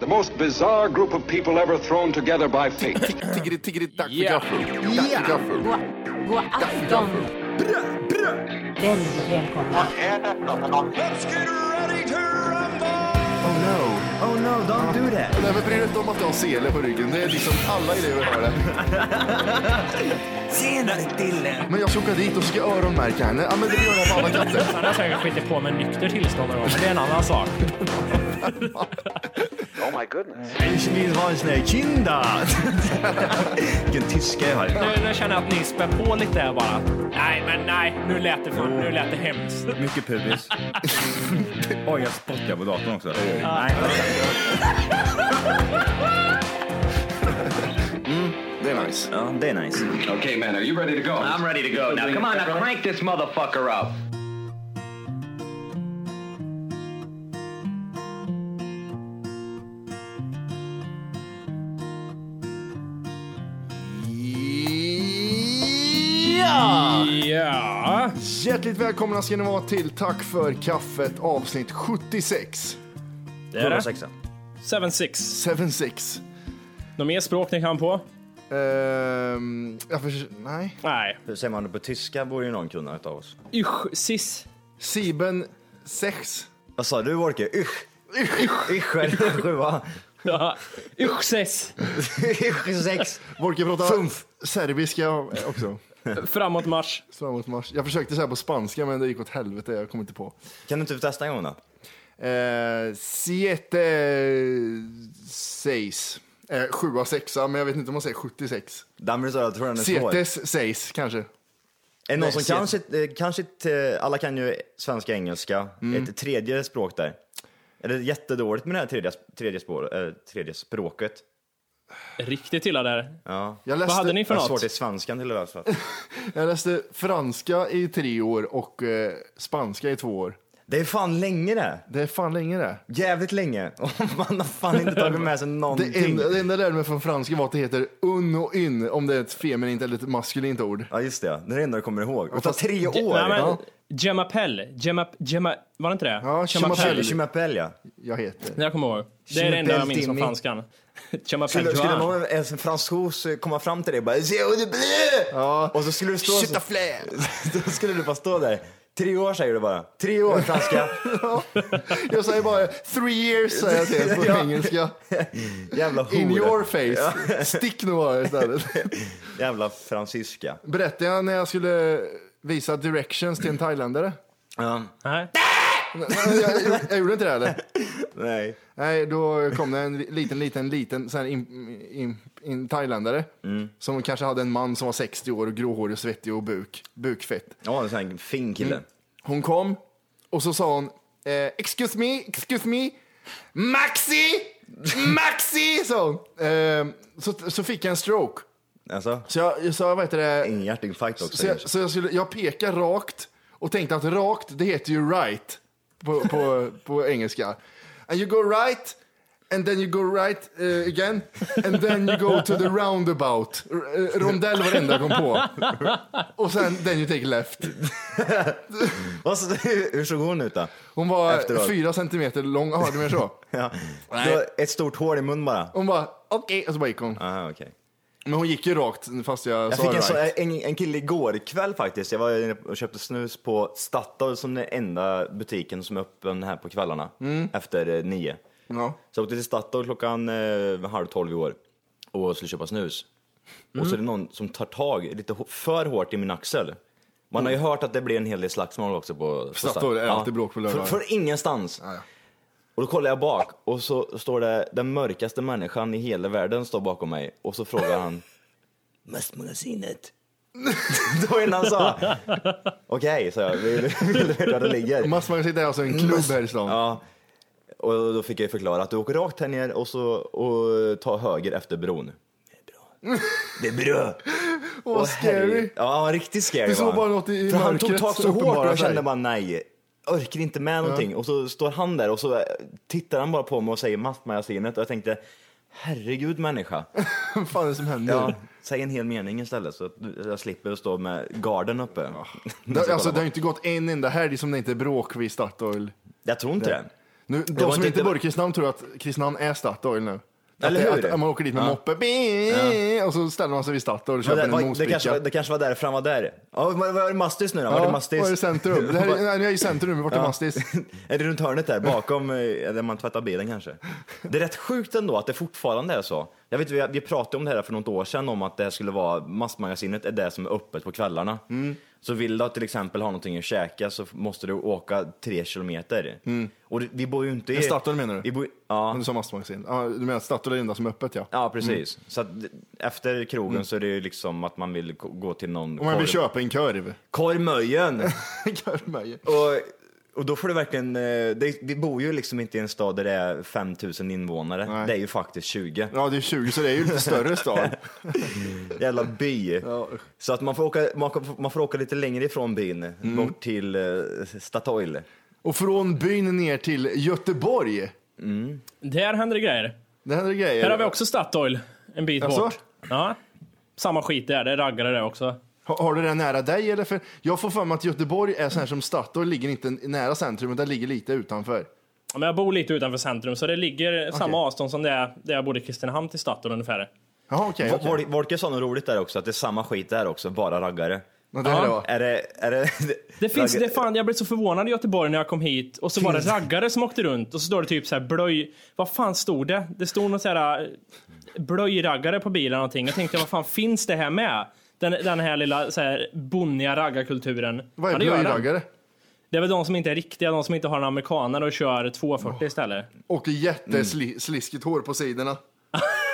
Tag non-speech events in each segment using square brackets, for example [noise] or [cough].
The most bizarre group of people ever thrown together by fate. Tiggeri, tiggeri, dack för Yeah. gaffel. Dack för gaffel. God, god afton. Väldigt välkomna. Oh no, oh no, don't do that. Nej, men bry dig inte om att jag har sele på ryggen. Det är liksom alla elever har det. Senare Dille. Men jag ska åka dit och ska öronmärka henne. Ja, men det gör jag på alla katter. Han har säkert skitit på med nykter tillstånd någon gång, men det är en annan sak. Ich vill ha en sån här kinda. [laughs] Vilken tyska jag har. Nu, nu känner jag att ni spär på lite här bara. Nej, men nej, nu lät det, fan, nu lät det hemskt. Mycket pubis. Oj, jag spottar på datorn också. Det är nice. Ja, det är nice. [laughs] okay, man, are you ready to go? I'm ready to go. Now, come on, now crank this motherfucker up. Ja! Ja. Hjärtligt välkomna ska ni vara till Tack för kaffet avsnitt 76. Det är det. Sexa. 7-6. 76. Något mer språk ni kan på? Ehm, jag förs- nej. Nej. Hur säger man det på tyska borde ju någon kunna utav oss. Usch, sis. Sieben sex. Vad sa du Wolke? Usch! Usch! Usch är det en sjua. Ja. Usch, sis. Usch sex. Volker pratar Fumf. serbiska också. Framåt marsch. Framåt mars. Jag försökte säga på spanska men det gick åt helvete. Jag kom inte på. Kan du inte typ testa en gång då? Eh, siete seis. Eh, sjua sexa, men jag vet inte om man säger 76. Damris öra tror jag den är svår. Är Setes seis kanske. det någon som Nej, kan sitt, eh, kan sitt, eh, alla kan ju svenska, engelska, ett tredje språk där. Är det jättedåligt med det här tredje, tredje, spår, eh, tredje språket? Riktigt illa där. Ja. Jag Vad hade ni för Jag har svårt något? i svenskan till och med. Jag läste franska i tre år och eh, spanska i två år. [laughs] Det är fan länge det. Det är fan länge det. Jävligt länge. [laughs] Och man har fan inte tagit med [laughs] sig Det någonting. enda, det enda jag lärde mig från franska var att det heter un och in, om det är ett feminint eller ett maskulint ord. Ja just det, det är det enda du kommer ihåg. Och ta fast- tre år! Nej, men, Ja. Gemapel. Gemma, Gemma, var det inte det? Ja, Chimapel, Chimapel. Chimapel ja. Jag heter. Det jag kommer ihåg. Det är det enda jag minns från Timmy. franskan. Gemapel. Skulle, skulle någon, en fransos komma fram till dig och bara Se hur det blir! Ja. Och så skulle du stå Shit, så, a flare. [laughs] Då skulle du bara stå där. Tre år säger du bara. Tre [laughs] år franska. Jag säger bara three years säger jag till på Ja. engelska. Jävla hora. In your face. Stick nu bara istället. Jävla fransyska. Berättade jag när jag skulle visa directions till en thailändare? Ja. Nej. Nej, jag, jag, jag gjorde inte det heller. Nej. Nej, då kom det en liten, liten, liten sån här in, in, in thailändare som kanske hade en man som var 60 år och gråhårig och svettig och buk, bukfett. Ja, en sån här fin kille. Mm. Hon kom och så sa hon eh, excuse me, excuse me, Maxi, Maxi, sa hon. Eh, så, så fick jag en stroke. Alltså, Så jag, jag sa, vad heter det? ingen hjärtinfarkt också. Så jag, kanske. så jag, skulle, jag pekar rakt och tänkte att rakt, det heter ju right på, på, på engelska. And you go right, and then you go right eh, again, and then you go to the roundabout. R- eh, rondell var det enda jag kom på. Och sen then you take left. Vad så- Hur såg hon ut då? Hon var Efteråt. fyra centimeter lång, hörde du mer så? Ja. Det var ett stort hål i munnen bara. Hon bara okej, och så bara gick hon. Aha, okej. Men hon gick ju rakt fast jag, Jag sa fick en, right. så, en, en kille igår kväll faktiskt. Jag var inne och köpte snus på Statoil som den enda butiken som är öppen här på kvällarna efter eh, nio. Ja. Så jag åkte till Statoil klockan eh, halv tolv i år och skulle köpa snus. Och så är det någon som tar tag lite hå- för hårt i min axel. Man har ju hört att det blir en hel del slagsmål också på, på Statoil är alltid bråk på lördagar. För, för ingenstans. ja. Och då kollar jag bak och så står det den mörkaste människan i hela världen står bakom mig och så frågar han Mästmagasinet. [laughs] det var innan han sa. Okej, sa jag. Vill vill du veta var det ligger? Massmagasinet är alltså en klubb här i stan. Ja. Och då fick jag ju förklara att du åker rakt här ner och, så, och tar höger efter bron. Det är bra. Det är bra. Åh, [laughs] vad Åh, herre- scary. Ja, riktigt scary. Du såg var han. bara något i För han mörkret tog tag så som hårt och uppenbarade jag kände sig. bara nej, orkar inte med någonting. Och så står han där och så eh, tittar han bara på mig och säger massmagasinet och jag tänkte herregud människa. Vad fan är det som händer? Ja, säg en hel mening istället så att du- jag slipper stå med garden Ah. [laughs] uppe. Alltså, Det, alltså, det har ju inte gått en enda helg som det inte är bråk vid Statoil. Jag tror inte det. Nu, var de som inte- inte det var- bor i Kristinehamn tror att Kristinehamn är Statoil nu. Eller att, det- hur? Att man åker dit med Ja. moppe, och så ställer man sig vid Statoil och Men köper det, en var, det, mosbricka. kanske, var- det kanske var därför han var där. Ja, vad var det Mastis nu då? var det Mastis? var det [laughs] centrum? Det här är, nej, nu är jag i centrum, vart är Mastis? är det runt hörnet där bakom eh, där man tvättar bilen kanske? Det är rätt sjukt ändå att det fortfarande är så. Jag vet, vi, vi pratade om det här för något år sedan om att det här skulle vara massmagasinet är det som är öppet på kvällarna. Mm. Så vill du till exempel ha någonting att käka så måste du åka tre kilometer. Mm. Och det- vi bor ju inte i... Men Statoil menar du? Vi bor, ja. Men Du Mm. sa massmagasin. Ja, du menar att Statoil är det enda som är öppet ja. Ja, precis. Så att efter krogen så är det ju liksom att man vill k- gå till någon Mm. Om man vill korv- köpa en korv. [laughs] Korvmöjen! Korvmöje. och, och då får du verkligen, eh, det, vi bor ju liksom inte i en stad där det är 5000 invånare. Nej. Det är ju faktiskt 20. Ja, det är 20 så det är ju lite större stad. Jävla by. Så att man får, åka, man, kan- man får åka lite längre ifrån byn, Mm. bort till eh, Statoil. Och från byn ner till Göteborg. Där händer det grejer. Det händer grejer. Här har vi också Statoil, en bit Jaså? bort. Ja. Samma skit där, det är raggare där också. Har, har du det nära dig eller? För jag får för mig att Göteborg är så här som Statoil ligger inte nära centrum utan ligger lite utanför. Ja, Men jag bor lite utanför centrum, så det ligger samma avstånd som det är där jag bodde i Kristinehamn till Statoil ungefär. Jaha okej. okej. Okay. Volker sa något roligt där också, att det är samma skit där också, bara raggare. Ja, det här Ja. var- Är det... Är det, Det finns, raggar- det fan, jag blev så förvånad i Göteborg när jag kom hit och så var det raggare som åkte runt och så står det typ så här blöj... Vad fan stod det? Det stod någon så här eh, blöjraggare på bilen eller någonting. Jag tänkte vad fan finns det här med? Den, den här lilla så här bonniga raggarkulturen. Vad är Ja, det gör den. blöjraggare? Det är väl de som inte är riktiga, de som inte har en amerikanare och kör 240 istället. Och jättesliskigt hår på sidorna.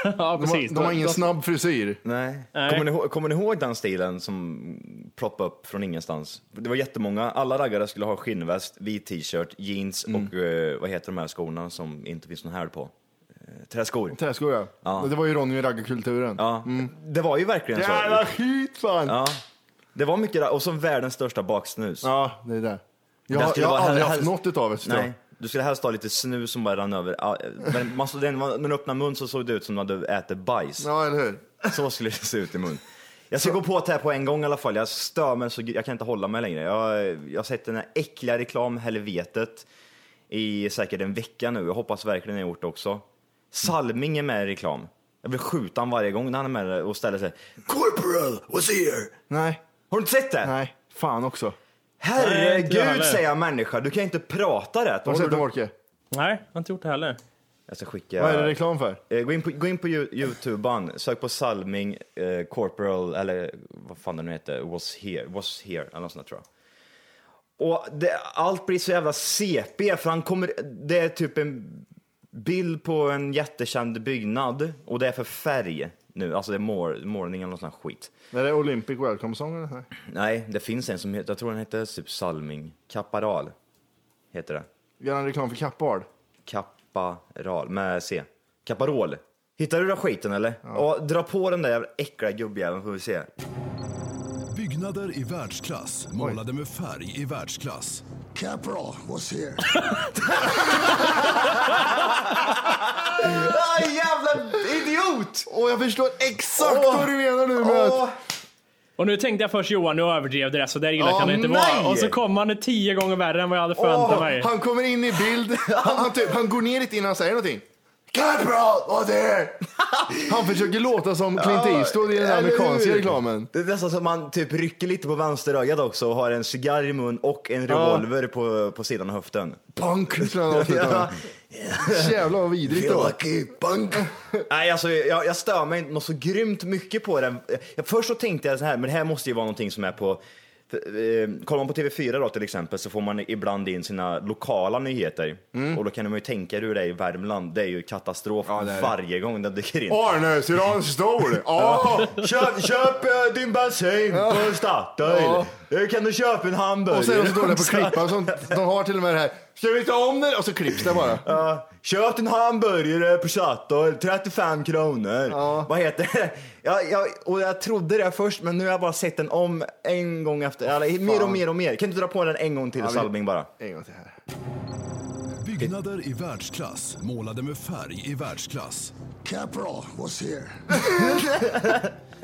Ja, De precis. har, de har ingen snabb frisyr. Nej. Nej. Kommer, ni ihåg, kommer ni ihåg den stilen som ploppade upp från ingenstans? Det var jättemånga. Alla raggare skulle ha skinnväst, vit t-shirt, jeans Mm. och eh, vad heter de här skorna som inte finns någon häl på? Eh, Träskor. Träskor ja. Det var ju Ronny och raggarkulturen. Ja. mm. Det var ju verkligen så. Jävla skit fan! Ja. Det var mycket ra- och som världens största baksnus. Ja, det är det. Jag, Det har- skulle jag har vara aldrig hel- haft helst- något utav det. Nej. Nej. Du skulle helst ha lite snus som bara rann över. Ja, Men man, såg- den- när man öppnade mun så såg det ut som att du ätit bajs. Ja, eller hur? Så skulle det se ut i mun. Jag ska gå på det här på en gång i alla fall. Jag stör mig så gud- jag kan inte hålla mig längre. Jag, jag har sett den här äckliga reklam, helvetet, i säkert en vecka nu. Jag hoppas verkligen jag har gjort det också. Salming är med i reklam. Jag vill skjuta honom varje gång när han är med och ställer sig. Corporal was here! Nej, Har du inte sett det? nej. Fan också. Nej, inte jag heller. Herregud säger jag människa, du kan inte prata rätt. Har Vad du håller sett den du- Wolke? Nej, jag har inte gjort det heller. Jag ska skicka... Vad är det reklam för? Eh, Gå in på, gå in på Yo- youtuban, sök på Salming eh, Corporal, eller vad fan det nu heter, was here, was here, eller något sånt där, tror jag. Och det, allt blir så jävla CP, för han kommer, det är typ en bild på en jättekänd byggnad och det är för färg nu, alltså det är mår, målning eller något sånt där skit. Är det Olympic Welcome Song eller? Nej. Nej, det finns en som heter, jag tror den heter typ Salming, Kapparal heter det. Gör han reklam för Kappahl? Kapparal med C. Kapparol. Hittar du den skiten eller? Ja. Ah, Dra på den där jävla äckliga gubbjäveln får vi se. Byggnader i världsklass, målade med färg i världsklass. Capra was here. Ah, jävla idiot! Åh, jag förstår exakt Åh. vad du menar nu med att... Och nu tänkte jag först Johan, nu överdrev det där, så där illa Åh, kan det inte nej! vara. Och så kom han tio gånger värre än vad jag hade förväntat Åh, mig. han kommer in i bild, [laughs] han, han, typ, han går ner lite innan han säger någonting. Capra was here! [laughs] Han försöker låta som Clint Eastwood i den här Eller hur? amerikanska reklamen. Det är nästan som man typ rycker lite på vänster ögat också och har en cigarr i mun och en revolver på, på sidan av höften. Punk, skulle han Typ. avsluta med. Jävlar vad vidrigt det var. punk. Nej, alltså jag, jag stör mig något så grymt mycket på den. Jag, först så tänkte jag så här, men det här måste ju vara någonting som är på eh, Kollar man på TV4 då till exempel så får man ibland in sina lokala nyheter Mm. och då kan man ju tänka hur det är i Värmland. Det är ju katastrof varje gång den dyker in. Arnös, vill du ha en [laughs] stol? Ja! Köp, köp eh, din bensin på Statoil. Ja. Eh, Kan du köpa en hamburgare? Och så är de så dåliga på att klippa och sånt. De har till och med det här. Ska vi ta om det? Och så klipps det bara. Ja, köpt en hamburgare på Statoil, 35 kronor. Vad heter det? [laughs] Jag, jag, och jag trodde det först, men nu har jag bara sett den om en gång efter, eller mer och mer och mer. Kan du dra på den en gång till, vi- Salming bara? En gång till här. Byggnader i världsklass, målade med färg i världsklass. Capra was here.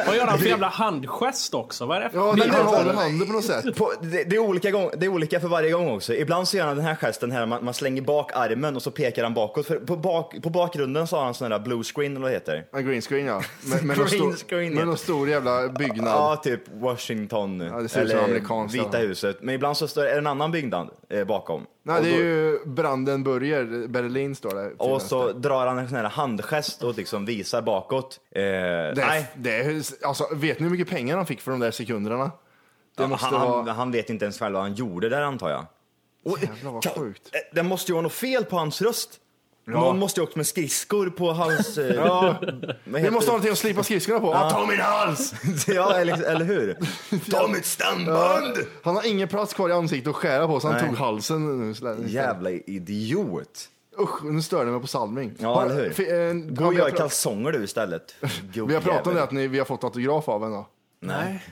Vad gör han för jävla handgest också? Vad är det för Ja, den Ja, håller handen på något [laughs] sätt. På, det, det, är olika gång, det är olika för varje gång också. Ibland så gör han den här gesten här, man, man slänger bak armen och så pekar han bakåt. För på, bak, på bakgrunden så har han sån där blue screen eller vad det heter. Ja, green screen ja. Med, med, Green någon, stor, screen, med ja. någon stor jävla Ja, byggnad. typ Washington det ser ut som eller amerikanskt, Vita ja. huset. Men ibland så står, är det en annan byggnad eh, bakom. Nej, och, det då- är ju Brandenburger, Berlin står det. till och vänster. så drar han en sån här handgest och liksom visar bakåt. Eh, Det nej, är, det är, alltså, vet ni hur mycket pengar han fick för de där sekunderna? Det han, måste han, vara... han vet inte ens själv vad han gjorde där antar jag. Och, Jävlar vad kan- sjukt. eh, Det måste ju vara något fel på hans röst. Någon måste ju ha åkt med skridskor på hans... Eh, [laughs] Ja, vad vi heter måste ha någonting att slipa skridskorna på. Ja. Ta min hals! [laughs] ja, eller, [laughs] eller hur? Ta mitt stamband! Han har ingen plats kvar i ansiktet att skära på så han Nej. tog halsen. nu istället. Jävla idiot. Usch, nu störde jag mig på salming. Ja, eller hur? fi- eh, Gå ja, och vi, har gör pra- kalsonger du istället. [laughs] vi har pratat om Gubbjävel. det att ni, vi har fått autograf av henne. Nej.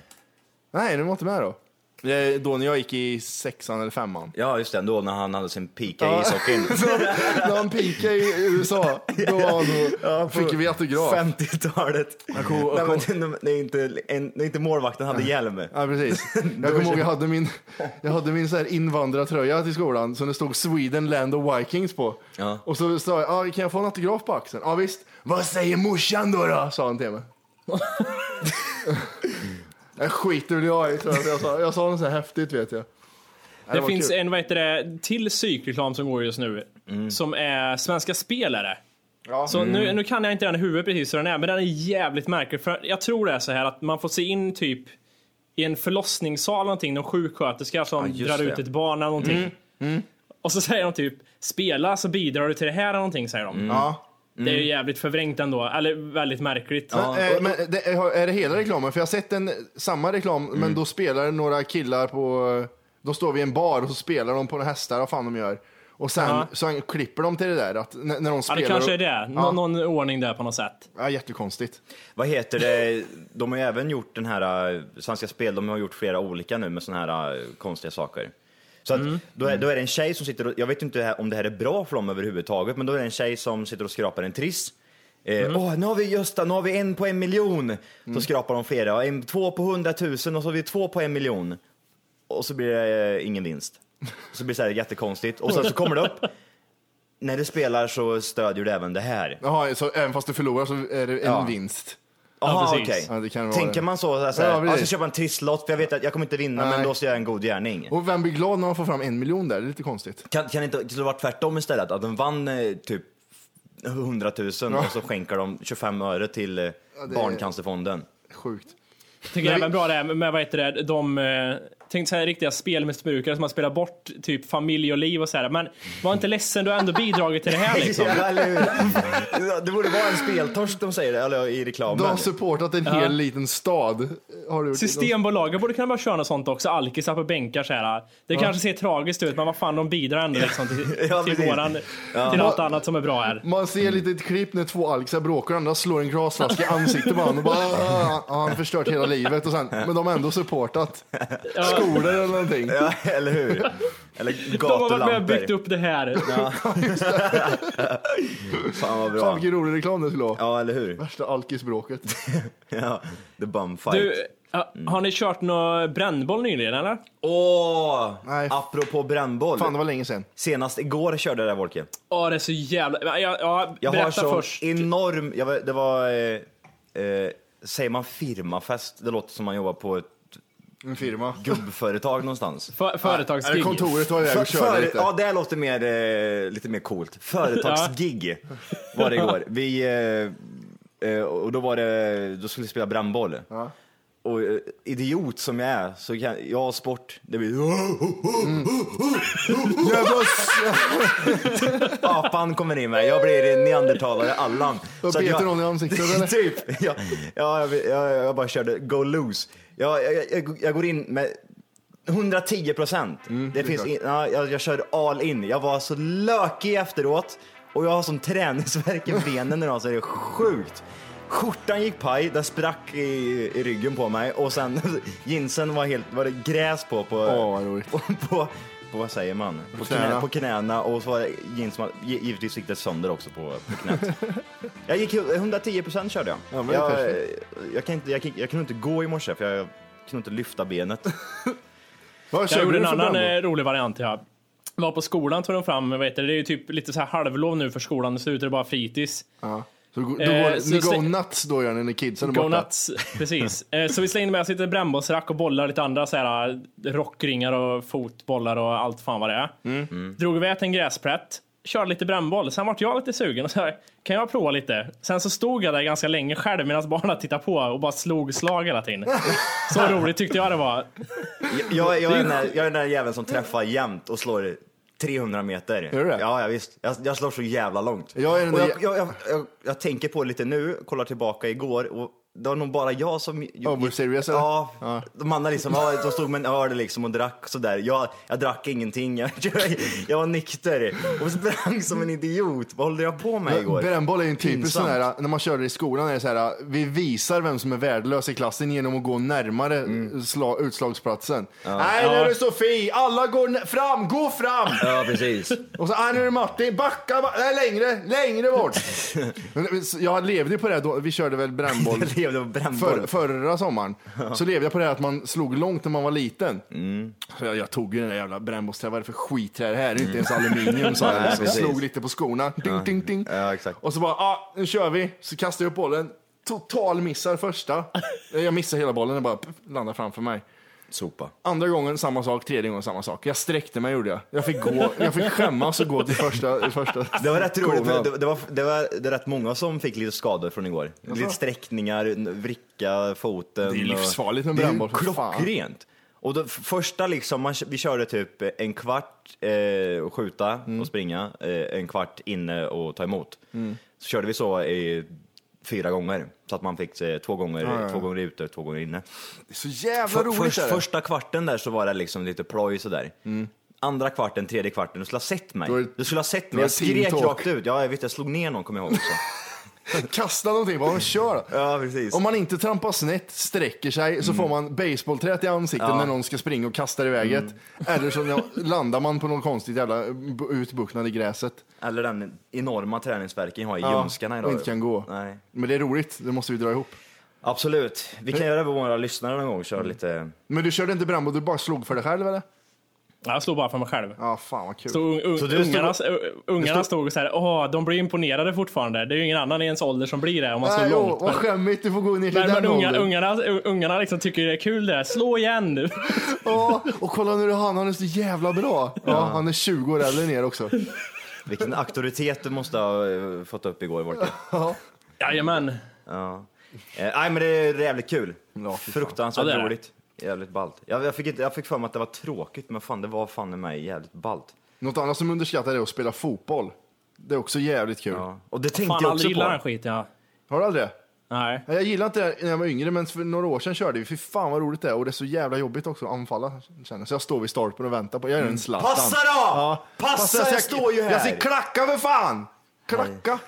Nej, ni var inte med då? Det är Då när jag gick i sexan eller femman. Ja, just det. Då när han hade sin pika i ishockeyn. [laughs] När han peakade i USA, då, var han då Ja, på fick vi autograf. 50-talet. kom- jag Nej, men det är inte, en, det är inte målvakten hade hjälm. Ja, precis. [laughs] Jag kommer ihåg jag hade min, jag hade min så här invandrartröja till skolan som det stod Sweden Land of Vikings på. Ja. Och så sa jag, ah, kan jag få en autograf på axeln? Ja visst. Vad säger morsan då då? Sa han till [laughs] mig. jag skiter väl jag i tror jag, jag sa. Jag sa något så här häftigt vet jag. Det, var finns kul. Mm. en vad heter det, till psykreklam som går just nu som är Svenska Spelare. Så nu, nu kan jag inte den i huvudet precis hur den är, men den är jävligt märklig. För jag tror det är så här att man får se in typ i en förlossningssal eller någonting, någon sjuksköterska som Ja, just drar det. ut ett barn eller någonting. Mm. Och så säger de typ spela så bidrar du till det här eller någonting säger de. Ja. Det Mm. är ju jävligt förvrängt ändå, eller väldigt märkligt. Men, eh, men det, är det hela reklamen? För jag har sett en, samma reklam, Mm. men då spelar några killar på... Då står vi i en bar och så spelar de på några hästar, vad fan de gör. Och sen, Ja. sen klipper de till det där, att när, när de Ja, spelar... det kanske är och, det. Nå- Ja. Någon ordning där på något sätt. Ja, jättekonstigt. Vad heter det? De har ju även gjort den här, eh, Svenska Spel, de har gjort flera olika nu med såna här eh, konstiga saker. Så att då, är, då är det en tjej som sitter och, jag vet inte om det här är bra för dem överhuvudtaget, men då är det en tjej som sitter och skrapar en triss. Eh, Åh, nu har vi Gösta, nu har vi en på en miljon! Så skrapar de flera, en, två på hundratusen och så har vi två på en miljon. Och så blir det eh, ingen vinst. Så blir det så här jättekonstigt. Och sen så kommer det upp, när du spelar så stödjer du även det här. Jaha, så även fast du förlorar så är det en Ja. vinst? Aha, precis. okej. Ja, det kan vara Tänker det. man så, så här, så här, Ja, ja, precis. jag ska köpa en trisslott för jag vet att jag kommer inte vinna Nej. men då ska jag göra en god gärning. Och vem blir glad när man får fram en miljon där? Det är lite konstigt. Kan, kan det inte skulle det varit tvärtom istället? Att de vann eh, typ 100 000 och så skänker de 25 öre till eh, det- [laughs] Barncancerfonden. Sjukt. Tycker Men jag vi- även bra det här med, med vad heter det, de eh, tänk så här riktiga spelmissbrukare som har spelat bort typ familj och liv och så här. Men var inte ledsen, du har ändå bidragit till det här liksom. [laughs] Ja, eller hur? det borde vara en speltorsk de säger det, eller i Du har reklamen. supportat en hel liten stad. Har du gjort. Systembolaget borde kunna bara köra något sånt också. Alkisar på bänkar så här. Det kanske ser tragiskt ut, men vad fan, de bidrar ändå liksom till, [laughs] Ja, till precis. våran, till allt annat som är bra här. Man ser lite ett klipp när två alkisar bråkar och andra slår en glasflaska i ansiktet på honom och bara "Ah, ah, han har förstört hela livet och sen, men de har ändå supportat skolor eller någonting. Ja, [laughs] eller hur? [laughs] Eller De har varit med och byggt gatulampor. upp det här. Fan vad Fan bra. vilken rolig reklam det skulle vara. Ja, eller hur? [laughs] Värsta alkisbråket. Ja, the bum fight. Du, ja, har ni kört någon brännboll nyligen eller? Åh! Nej. Apropå brännboll. Fan det var länge sedan. Senast igår körde jag det där Wolke. Ja, det är så jävla... Ja, ja, Jag berätta har sån först. enorm, jag, var- det var, eh, eh, säger man firmafest? Det låter som man jobbar på ett En firma. gubbföretag någonstans. För, Eller företagsgig. kontoret var iväg och körde Före- lite. ja, det här låter mer, eh, lite mer coolt. Företagsgig var det igår. Vi, eh, eh, och då var det, då skulle vi spela brandboll. Och eh, idiot som jag är, så kan, jag och sport, det blir Mm. Jävla [laughs] apan kommer in med. Jag blir neandertalare Allan. Då Så att beter jag- någon i ansiktet eller? typ. Ja, ja, jag, jag, jag bara körde go loose. Jag, jag, jag, jag går in med 110 procent. det finns in, ja, jag, jag kör all in. Jag var så lökig efteråt och jag har sån träningsvärk i benen idag så det är sjukt. Skjortan gick paj, den sprack i, i [laughs] ryggen [laughs] på mig och sen jeansen var helt, var det gräs på på, Åh, vad roligt. på, på på vad säger man? På knäna. knäna, på knäna och så var det jeansma- gi- givetvis gick det sönder också på, på [laughs] knät. jag gick 110 procent körde jag. Ja, men det jag, kanske. jag, kan inte, jag, kan- jag kunde inte gå i morse för jag, jag kunde inte lyfta benet. Vad Jag körde gjorde du en för annan Brembo? eh, rolig variant jag var på skolan tog de fram, vad heter det, det är ju typ lite så här halvlov nu för skolan, så ute är det bara fritids. Ja. Så du, du Eh, går, så ni stä- go nuts då gör ni när kidsen är Go borta. nuts, [laughs] precis. Eh, Så vi slängde med oss lite brännbollsrack och bollar, lite andra så här eh, rockringar och fotbollar och allt fan vad det är. Mm. Drog iväg till en gräsplätt, körde lite brännboll, sen vart jag lite sugen och så här, kan jag prova lite? Sen så stod jag där ganska länge själv medan barnen tittade på och bara slog slag [laughs] hela tiden. Så roligt tyckte jag det var. Jag, jag, jag, är, den där, jag är den där jäveln som träffar jämt och slår 300 meter. Är du det? Ja, ja visst. Jag, jag slår så jävla långt. Jag är den och där jag, jag, jag, jag, jag tänker på det lite nu, kollar tillbaka igår och det var nog bara jag som... Overserious, eller? Ja, alltså. Ja. de andra liksom, ja, de stod med en öl liksom och drack sådär. Jag, jag drack ingenting, jag, [laughs] jag, jag var nykter och sprang som en idiot. Vad håller jag på med igår? Brännboll är ju en typisk Pinsamt. sån här, när man kör det i skolan, är det så här, vi visar vem som är värdelös i klassen genom att gå närmare Mm. sla, utslagsplatsen. Nej, nu är det Sofie, alla går n- fram, gå [laughs] fram! Ja, precis. Och så, nej nu är det Martin, backa, ba- nej längre, längre [laughs] bort! Men, men, så Jag levde ju på det här då, vi körde väl [laughs] brännboll Jag levde på brännboll. för, förra sommaren. Så levde jag på det här att man slog långt när man var liten. Mm. Så jag, jag tog ju den där jävla brännbollsträ, vad är det för skit här? Det här är ju inte ens aluminium sa Mm. [laughs] Nej, jag. Så jag precis. slog lite på skorna, ding, ding, ding. Ja, exakt. Och så bara, ah, nu kör vi. Så kastar jag upp bollen, total missar första. Eh, Jag missar hela bollen, den bara pff, landar framför mig. Sopa. Andra gången samma sak, tredje gången samma sak. Jag sträckte mig gjorde jag. Jag fick, gå, jag fick skämmas och gå till första. första Det var rätt roligt, skolan. för det, det, var, det var det är rätt många som fick lite skador från igår. Lite sträckningar, vricka, foten. Det är och- livsfarligt med Det är ju brännboll, för fan. klockrent. Och då, första liksom, man, vi körde typ en kvart eh, och skjuta Mm. och springa, eh, en kvart inne och ta emot. Så körde vi så i fyra gånger, så att man fick eh, två, gånger, två gånger ute och två gånger inne. Det är så jävla För, roligt först, är det. Mm. första kvarten där så var det liksom lite ploj sådär. Andra kvarten, tredje kvarten, du skulle ha sett mig. Då är- Du skulle ha sett då är mig, jag det team skrek talk. rakt ut. Ja, jag vet, jag slog ner någon kommer jag ihåg också. [laughs] Kasta någonting, bara kör då. ja, precis. Om man inte trampar snett, sträcker sig, så får man baseballträet i ansiktet när någon ska springa och kastar iväg Mm. ett. Eller så [laughs] när- landar man på något konstigt jävla b- utbuktnad i gräset. Eller den enorma träningsverken jag har i Ja, ljumskarna idag. och inte kan gå. Nej. Men det är roligt, det måste vi dra ihop. Absolut. Vi kan göra det med våra lyssnare någon gång och köra lite... Men du körde inte brännboll, du bara slog för dig själv eller? Jag slog bara för mig själv. Ja, fan vad kul. Så un, un, Så du stod- ungarna, ungarna stod och så här, åh, de blir imponerade fortfarande. Det är ju ingen annan i ens ålder som blir det om man slår Nej, åh, långt. vad skämmigt, du får gå ner till Men, men den unga, åldern. ungarna, ungarna liksom tycker det är kul det. här. Slå igen [laughs] nu. Ja, och kolla nu, han, han är så jävla bra. Ja, Han är 20 år äldre än er också. Vilken auktoritet du måste ha eh, fått upp igår, Wolke. Jajamän. Ja. Eh, nej, men det är jävligt kul. Fruktansvärt Ja, det är det. roligt. Jävligt ballt. Jag, jag, fick inte, jag fick för mig att det var tråkigt, men fan, det var fan i mig jävligt ballt. Något annat som underskattar är att spela fotboll. Det är också jävligt kul. Ja. Och det tänkte Fan, jag aldrig också gillar den på. skiten jag. Har du aldrig det? Nej. Nej, Jag gillade inte det här när jag var yngre, men för några år sedan körde vi. Fy fan vad roligt det är. Och det är så jävla jobbigt också att anfalla. Känner. jag. Så jag står vid stolpen och väntar på... Jag är en Zlatan. Mm. Passa då! Passa, jag, står ju här! Jag ser klacka för fan! Klacka!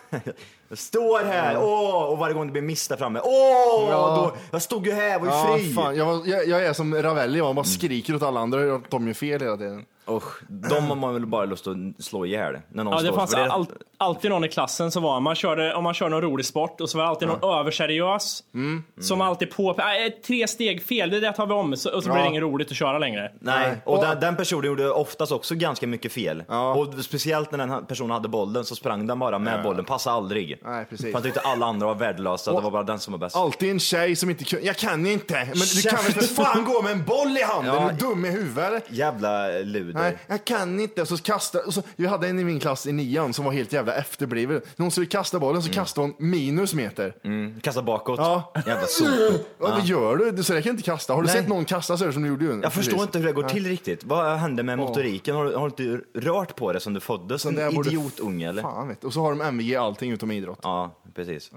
Jag står här, åh! Och varje gång det blir miss där framme, åh! Ja. Då, jag stod ju här, var ju Ja, fri! fan. Jag, var, jag, jag är som Ravelli, man Mm. bara skriker åt alla andra att de gör fel hela tiden. Usch, de har man väl bara lust att slå ihjäl. När någon Ja, det slår. fanns För all, alltid någon i klassen som var, man körde, om man körde någon rolig sport, och så var det alltid någon överseriös. Mm. Som alltid på, "Nej, tre steg fel, det där tar vi om. Så, och så blir det Ja. inget roligt att köra längre. Nej, Nej. och, Och- den, den personen gjorde oftast också ganska mycket fel. Och speciellt när den här personen hade bollen så sprang den bara med bollen, passa aldrig. Nej, precis. För han tyckte alla andra var värdelösa, det var bara den som var bäst. Alltid en tjej som inte kunde. Jag kan inte! Men du kan väl för fan gå med en boll i handen? [laughs] Ja. Är du dum i huvudet eller? Jävla luder. Nej, jag kan inte. Och Så kastar, och så, jag hade en i min klass i nian som var helt jävla efterbliven. När hon skulle kasta bollen så Mm. kastade hon minus meter. Kasta bakåt. Ja. Jävla sopor. Ja, Vad gör du? Så där kan jag inte kasta. Har du Nej. sett någon kasta så där som du gjorde? ju? Jag förstår Precis. inte hur det går till riktigt. Vad hände med motoriken? Har du, har du inte rört på det sen du föddes? En där borde- idiotunge eller? Fan vet du. Och så har de MVG i allting utom idrott. Ja, precis.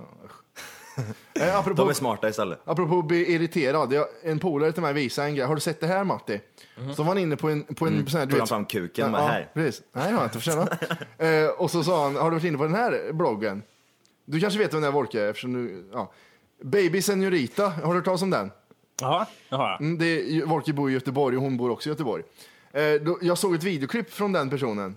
Eh, De apropå, är smarta istället. apropå att bli irriterad. Jag, en polare till mig visade en grej. Har du sett det här Matti? Så var han inne på en... På en sån här, du Tog han Mhm. Mm. fram kuken Ja, med ja, här. Precis. Nej, det har jag inte. [laughs] Förtjäna. eh, och så sa han, har du varit inne på den här bloggen? Du kanske vet vem det är Wolke? Eftersom du, ja. Baby Senorita, har du hört talas om den? Jaha, det har jag. Mm, Det är, Volke bor i Göteborg och hon bor också i Göteborg. Eh, då, jag såg ett videoklipp från den personen.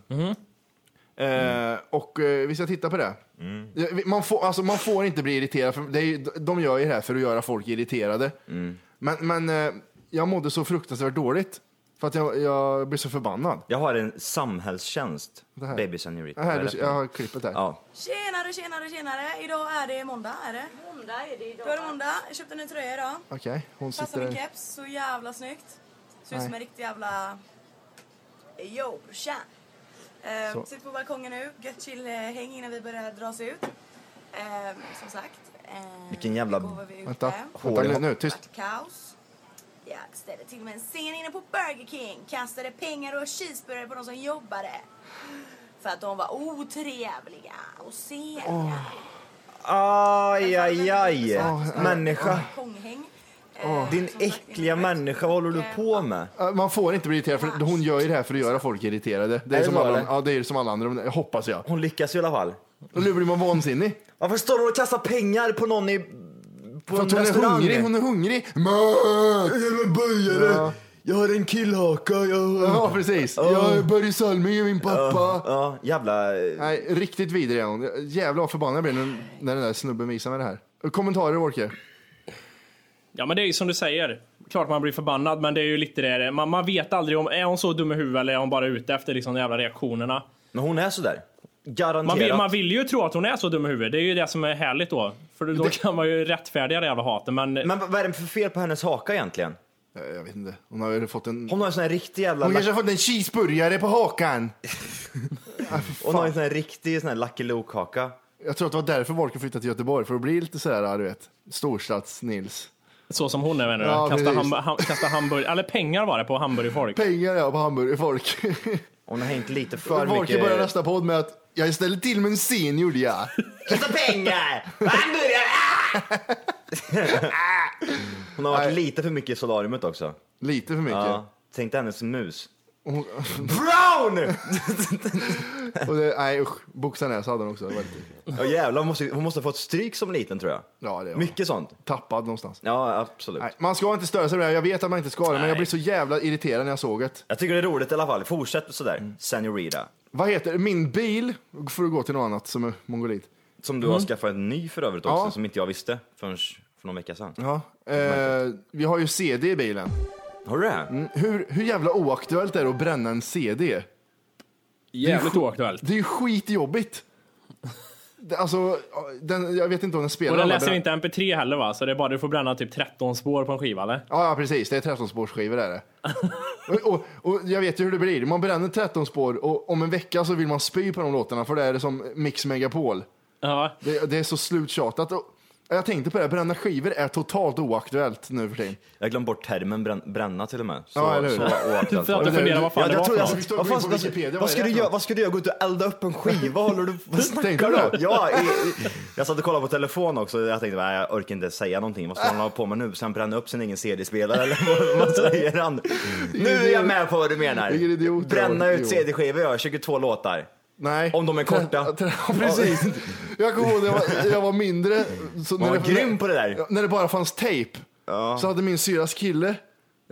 Eh, och eh, vi ska titta på det. Mm. Ja, vi- Man, får, alltså, man får inte bli irriterad, för det är, ju- de gör ju det här för att göra folk irriterade. Mm. Men, men eh, jag mådde så fruktansvärt dåligt, för att jag, jag blev så förbannad. Jag har en samhällstjänst, här. Baby Senorita. Det här, Vad är du- det för jag något? har klippet här. Ja. Tjenare, tjenare, tjenare. Idag är det måndag, är det? Måndag är det idag. Då är det måndag. Jag köpte en ny tröja idag. Okej, hon Passar sitter min där. keps. Så jävla snyggt. Ser ut Nej. som en riktig jävla... eh, Yo, brorsan. Så. Eh, sitter på balkongen nu. Gött chill eh, häng innan vi börjar dra oss ut. Eh, som sagt. Eh, Vilken jävla- igår var vi ute. Vänta, Hår vänta i nu, hopp. nu, tyst. Vart kaos. Jag ställde till med en scen inne på Burger King. Kastade pengar och cheeseburgare på de som jobbade. För att de var otrevliga och sena. Aj, aj, aj. Människa. Konghäng. Ah. Din äckliga människa, vad håller du på med? Eh, Man får inte bli irriterad, för hon gör ju det här för att göra folk irriterade. Det är, det som, så alla, eller? ja, det är som alla andra, hoppas jag. Hon lyckas i alla fall. Och nu blir man vansinnig. Varför står hon och kastar pengar på någon i... På För en att hon är restaurang? hungrig, hon är hungrig. Mö! Jag är en böjare. Jag har en killhaka. Jag har... Ja, precis. Jag är Börje Salming, är min pappa. Ja, jävla... eh, Nej, riktigt vidrig är hon. Jävlar vad förbannad jag blir när, när den där snubben visar mig det här. Kommentarer, Orke? Ja men det är ju som du säger. Klart man blir förbannad men det är ju lite det. Man, man vet aldrig om, är hon så dum i huvudet eller är hon bara ute efter liksom de jävla reaktionerna. Men hon är sådär. Man Garanterat. vill, man vill ju tro att hon är så dum i huvudet. Det är ju det som är härligt då. För då [laughs] kan man ju rättfärdiga det jävla hatet. Men, Men vad är det för fel på hennes haka egentligen? Eh, Jag vet inte. Hon har väl fått en... Hon har en sån här riktig jävla... Hon lack- kanske har fått en cheeseburgare på hakan. Hon har en sån här riktig sån här Lucky Luke-haka. Jag tror att det var därför Volker flyttade till Göteborg, för att bli lite sådär, ja, du vet, storstads-Nils. så som hon är menar Ja, du? Kasta, precis. ham, ham, kasta hamburgare, eller pengar var det på hamburgerfolk. Pengar ja, på [laughs] hamburgerfolk. Hon har hängt lite för Volker börjar mycket... nästa podd med att jag ställde till med en scen gjorde jag. Kasta pengar! Hamburgare! Ah! Hon har varit lite för mycket i solariumet också. Lite för mycket. Ja. Tänk dig hennes mus. Brown! Och det, nej usch, boxarnäs hade hon också. Det var lite- Ja jävlar, hon måste, hon måste ha fått stryk som liten tror jag. Ja, det var Mycket sånt. tappad någonstans. Ja, absolut. Nej, man ska inte störa sig på det här. Jag vet att man inte ska det, men jag Nej. blev så jävla irriterad när jag såg det. Jag tycker det är roligt i alla fall. Fortsätt sådär, Mm. Senorita. Vad heter det? Min bil, för att gå till något annat som är mongolit. Som du har skaffat en ny för övrigt också, Mm. Ja. som inte jag visste förrän för någon vecka sedan. Ja. Eh, vi har ju CD i bilen. Har du det? Hur, hur jävla oaktuellt är det att bränna en CD? Jävligt oaktuellt. Det är ju skitjobbigt. Det- Alltså, den, jag vet inte om den spelar. Och den alla läser brän- inte MP3 heller va? Så det är bara du får bränna typ 13 spår på en skiva eller? Ja, ja, precis. Det är 13-spårsskivor är [laughs] det. och, och, och jag vet ju hur det blir. Man bränner 13 spår och om en vecka så vill man spy på de låtarna för det är det som Mix Megapol. Ja. Det, det är så sluttjatat. Och jag tänkte på det, här, bränna skivor är totalt oaktuellt nu för tiden. Jag glömde bort termen brän, bränna till och med. Så, Ja, eller hur? så [laughs] oaktuellt. För att du funderar vad fan jag, det var jag tror för jag, något. Vi står vad, gå in fan, på vad, Wikipedia, vad ska vad är du det göra? för Vad ska du göra? Gå ut och elda upp en skiva? Vad håller du Vad Tänkte snackar du du om? det? Ja, [laughs] i, i, jag satt och kollade på telefon också. Jag tänkte, nej, jag orkar inte säga någonting. Vad ska han hålla på med nu? Ska han bränna upp sin egen CD-spelare eller vad, [laughs] vad säger han? Nu är jag med på vad du menar. Vilken idiot du har Bränna varit, ut idiot. CD-skivor, jag har 22 låtar. Nej. Om de är korta. Tre- tre- [laughs] Ja, precis. Jag kommer ihåg när jag var, jag var mindre. Så Man var grym på det där. Ja, När det bara fanns tejp. Så hade min syras kille,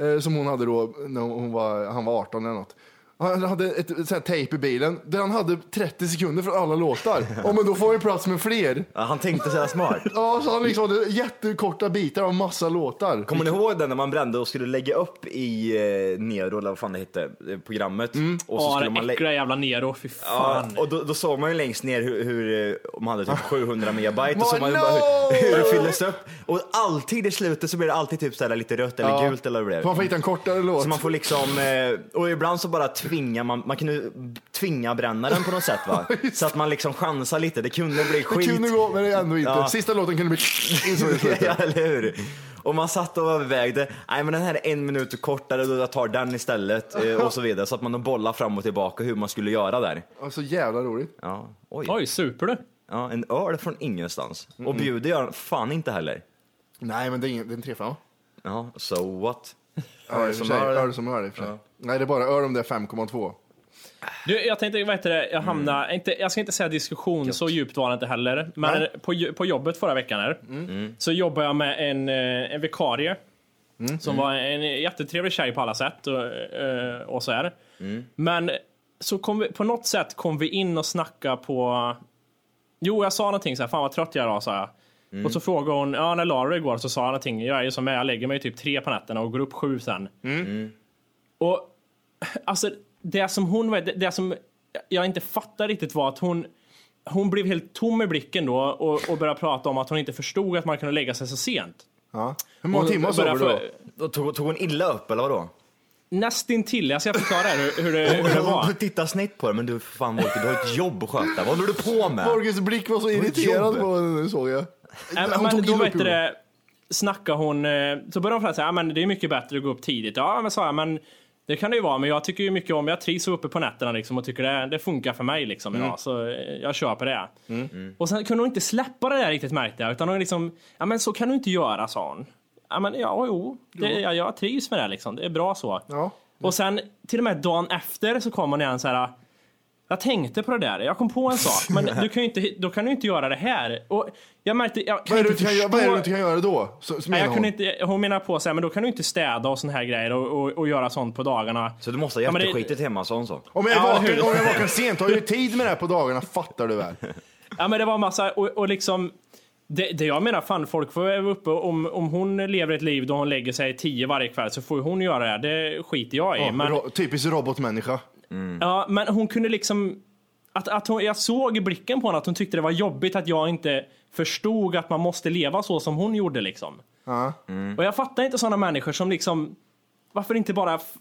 eh, som hon hade då, när hon var, han var 18 eller något. Han hade ett sånt här tejp i bilen där han hade 30 sekunder för alla låtar. Ja men då får vi plats med fler. Ja, han tänkte [laughs] sig smart. Ja, så han liksom hade jättekorta bitar av massa låtar. Kommer ni ihåg den när man brände och skulle lägga upp i eh, Nero, eller vad fan det hette, eh, programmet? Mm. Och Ja, skulle den lä- äckliga jävla Nero. Fy Ja, fan. och då, då såg man ju längst ner hur, hur eh, om man hade typ 700 Ah. megabyte och Vad såg man ju no! bara hur, hur det fylldes upp. Och alltid i slutet så blir det alltid typ såhär lite rött eller Ja. gult eller vad det Man blev. får hitta en kortare låt. Så man får liksom, eh, och ibland så bara tvingar man, man kan ju tvinga brännaren på något sätt [laughs] va. Så att man liksom chansar lite, det kunde bli det skit. kunde gå [laughs] men det är ändå inte. Ja. Sista låten kunde bli... Så i slutet. ja, eller hur? Och man satt och övervägde, nej men den här är en minut kortare, då jag tar den istället eh, och så vidare. Så att man bollar fram och tillbaka hur man skulle göra där. Ja, Så jävla roligt. Ja, oj. Oj, super du. Ja, en öl från ingenstans. Och bjuder jag fan inte heller. Nej men det är ingen- det är en trefemma. Ja, so what? Öl som öl. öl. Öl som öl i och för sig. Nej, det är bara öl om det är 5,2. Du, jag tänkte, vad heter det, jag hamnade, inte, jag ska inte säga diskussion, så djupt var det inte heller. Men på, ju- på jobbet förra veckan här, så jobbade jag med en, eh, en vikarie Som var en jättetrevlig tjej på alla sätt och, eh, och så här. Men så kom vi, på något sätt kom vi in och snackade på... Jo, jag sa någonting så här, fan vad trött jag är idag, sa jag. Och så frågade hon, ja när Lara igår så sa jag någonting, jag är ju som jag, är, jag lägger mig typ tre på nätterna och går upp sju sen. Och alltså det som hon var, det, det som jag inte fattar riktigt var att hon hon blev helt tom i blicken då och, och började prata om att hon inte förstod att man kunde lägga sig så sent. Ja. Hur många timmar sover började du då? få- Då tog, tog hon illa upp eller vadå? Nästintill, jag ska förklara hur, hur, det, hur det var. Hon tittar snett på dig, men du för fan Volker, du har ett jobb att sköta. Vad håller du på med? Borges blick var så irriterad jobb. på henne nu såg jag. Nej, Hon men tog då illa vet upp du i det, snackade hon, eh, så började hon prata säga, ja men det är mycket bättre att gå upp tidigt. Ja men sa jag, men det kan det ju vara, men jag tycker ju mycket om, jag trivs uppe på nätterna liksom och tycker det, det funkar för mig liksom Mm. idag, så eh, jag köper det. Och sen kunde hon inte släppa det där riktigt märkte jag, utan hon liksom, ja men så kan du inte göra sa hon. Ja men ja, jo, det, jag, jag trivs med det liksom, det är bra så. Ja. Och sen till och med dagen efter så kom hon igen så här. Jag tänkte på det där, jag kom på en [laughs] sak, men du kan ju inte, då kan du inte göra det här. Och jag märkte, jag kan Vad är det inte du kan förstå... göra- vad är det du inte kan göra då? Så, så Nej, menar jag hon. kunde inte, hon menar på så här, men då kan du inte städa och såna här grejer och, och, och göra sånt på dagarna. Så du måste Ja, ha men det- jätteskitigt hemma, sa hon så. Om jag, är Ja, vaken, hur- om jag är vaken sent har jag ju tid med det här på dagarna, fattar du väl? Ja men det var massa, och, och liksom det, det jag menar, fan folk får vara uppe om, om hon lever ett liv då hon lägger sig tio varje kväll så får hon göra det, det skiter jag i. Ja, men, ro- typisk robotmänniska. Ja, men hon kunde liksom... Att, att hon, jag såg i blicken på henne att hon tyckte det var jobbigt att jag inte förstod att man måste leva så som hon gjorde. Liksom. Ja. Mm. Och jag fattar inte sådana människor som liksom... Varför inte bara... f-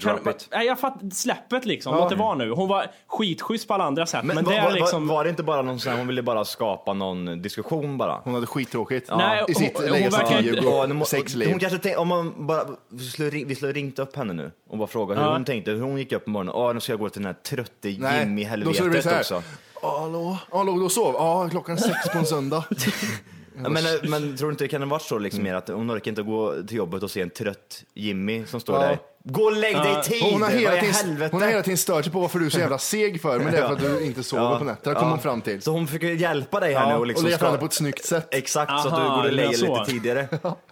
Kan, Drop it. nej, jag fattar, släpp det liksom. Låt det vara nu. Hon var skitschysst på alla andra sätt. Men, Men, det var, är var, liksom... var det inte bara någon sån här, hon ville bara skapa någon diskussion bara? Hon hade skittråkigt. Nej, I hon- sitt hon lägga sig verkar tio inte- och gå nu må- upp sex hon liv. kanske tänkte, om man bara, vi skulle ring- vi skulle ha ringt upp henne nu och bara fråga hur Ja. hon tänkte, hur hon gick upp på morgonen. Åh, nu ska jag gå till den här trötte Nej, då skulle det bli så Jimmy-helvetet här. också. Ja, Hallå, hallå, du sov? Ja, klockan sex på en söndag. [laughs] Ja, men, eh, men tror du inte det kan ha varit så liksom Mm. mer att hon orkar inte gå till jobbet och se en trött Jimmy som står Ja. där. Gå och lägg dig i tid! Och Hon har, hela Vad i tiden, helvete? hon har hela tiden stört sig på varför du är så jävla seg för, men det är för att du inte sover på nätterna, kom hon fram till. Så hon försöker hjälpa dig här Ja, nu och och liksom lägga fram ska- det på ett snyggt sätt. Exakt, så att du Aha, går och det lägger är så. [laughs] lite tidigare.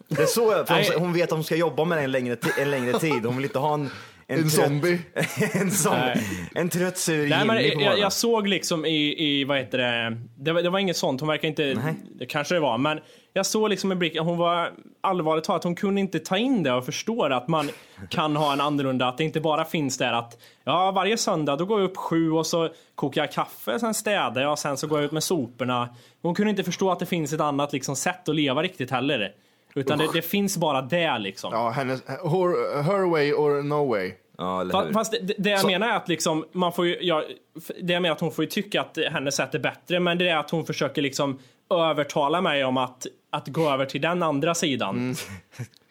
Det är så, för Nej. hon, hon vet att hon ska jobba med dig en längre, ti- en längre tid. Hon vill inte ha en... En trött- zombie. [laughs] en, zombie. Nej. en trött sur Nej, men Jimmy på jag, morgonen. jag såg liksom i, i vad heter det, det var, det var inget sånt, hon verkar inte, det kanske det var, men jag såg liksom i blicken, hon var allvarligt talat, hon kunde inte ta in det och förstå det, att man kan ha en annorlunda, att det inte bara finns där att ja, varje söndag då går jag upp sju och så kokar jag kaffe, sen städar jag, sen så går jag ut med soporna. Hon kunde inte förstå att det finns ett annat liksom, sätt att leva riktigt heller. Utan det, det finns bara det liksom. Ja, hennes, her, her way or no way. Ja, eller Fa- hur? Fast det, det- det jag menar är att liksom, man får ju, ja, f- det jag menar är att hon får ju tycka att hennes sätt är bättre, men det är att hon försöker liksom övertala mig om att, att gå över till den andra sidan. Mm. [laughs]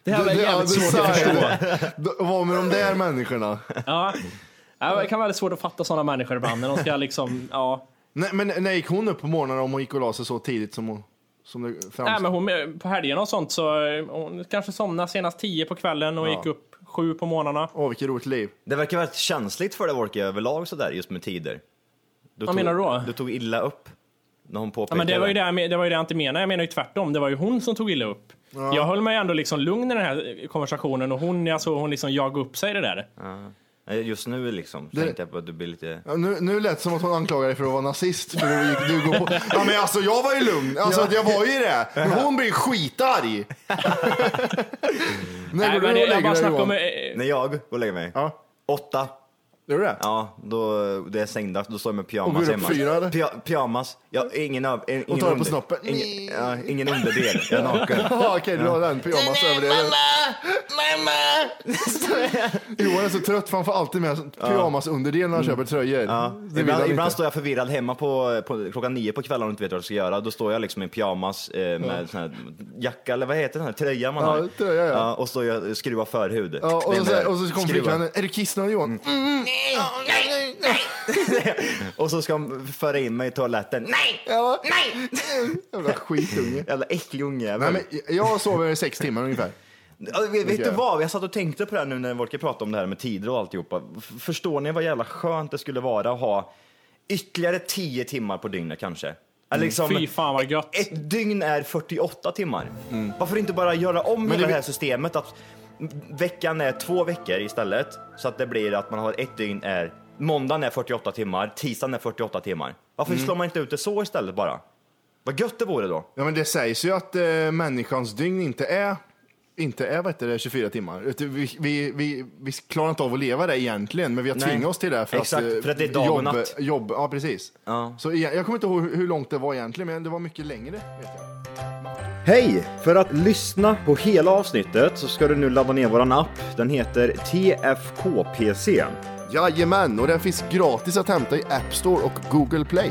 Det här var jävligt svårt att förstå. förstå. Vad med de där människorna? Ja. Ja, det kan vara väldigt svårt att fatta sådana människor ibland när de ska liksom, ja. Nej, men när gick hon upp på morgonen om hon gick och la sig så tidigt som hon som det Nej, framstod? men hon, på helgerna och sånt så eh, hon kanske somnade senast tio på kvällen och gick upp sju på morgnarna. Åh, vilket roligt liv. Det verkar vara känsligt för dig Wolke överlag sådär just med tider. Du tog, menar du då? Du tog illa upp när hon Ja, påpekade men det, var ju det, jag men- det var ju det jag inte menade. Jag menar ju tvärtom. Det var ju hon som tog illa upp. Jag höll mig ändå liksom lugn i den här konversationen och hon, jag såg hon liksom jagade upp sig i det där. Nej, Just nu liksom Det- tänkte jag på att du blir lite... Ja, nu, nu lät det som att hon anklagar dig för att vara nazist. För du, gick- du går på. Ja, men alltså, jag var ju lugn. Alltså, att Jag var ju det. Men hon blir [laughs] skitarg. När går Nej, du och men jag, jag lägger bara dig snackar om... Johan? eh, När jag går och lägger mig, Ja, åtta, gör du det? ja då det är sängdags, då står jag med pyjamas Och går upp hemma. fyra, eller? Pya- pyjamas, jag, ingen över... Ingen tar den på under- snoppen. Ingen, ja, ingen underdel, jag är naken. Ja, okej, [laughs] du har den pyjamas över dig. Mamma! Mamma! [laughs] Johan är så trött för han får alltid med pyjamas underdel när han köper tröjor. Det vill han Mm. Ibland, ibland inte. står jag förvirrad hemma på, på klockan nio på kvällen och inte vet vad jag ska göra. Då står jag liksom i pyjamas eh, med sån här jacka, eller vad heter den här tröja man Ja, har? tröja, ja. och står jag och skruvar förhud. Ja, och, Det är så, det där. och så kommer Skruva. flickvännen. Är du kissnödig Johan? Mm. [laughs] Och så ska de föra in mig i toaletten. Nej! Ja. Nej! Jävla skitunge. Jävla äcklig Nej, ungjävel. men jag sover i sex timmar ungefär. Ja, Vet, vet Okej. du vad? Jag satt och tänkte på det här nu när Wolke pratade om det här med tider och alltihopa. F- Förstår ni vad jävla skönt det skulle vara att ha ytterligare tio timmar på dygnet kanske? Ja, Liksom, Fy fan vad gött. Ett dygn är 48 timmar. Varför inte bara göra om hela det- det här systemet? Att veckan är två veckor istället. Så att det blir att man har ett dygn är... Måndagen är 48 timmar, tisdagen är 48 timmar. Varför slår man inte ut det så istället bara? Vad gött det vore då. Ja, men det sägs ju att eh, människans dygn inte är, inte är vad heter det, 24 timmar. Utan Vi, vi, vi, vi klarar inte av att leva det egentligen, men vi har Nej. tvingat oss till det. För Exakt, att, eh, för att det är dag och jobb, natt. Jobb, ja, precis. Ja. Så, igen- jag kommer inte ihåg hur hur långt det var egentligen, men det var mycket längre. Vet jag. Hej! För att lyssna på hela avsnittet så ska du nu ladda ner våran app. Den heter TFKPC. Jajamän, och den finns gratis att hämta i App Store och Google Play.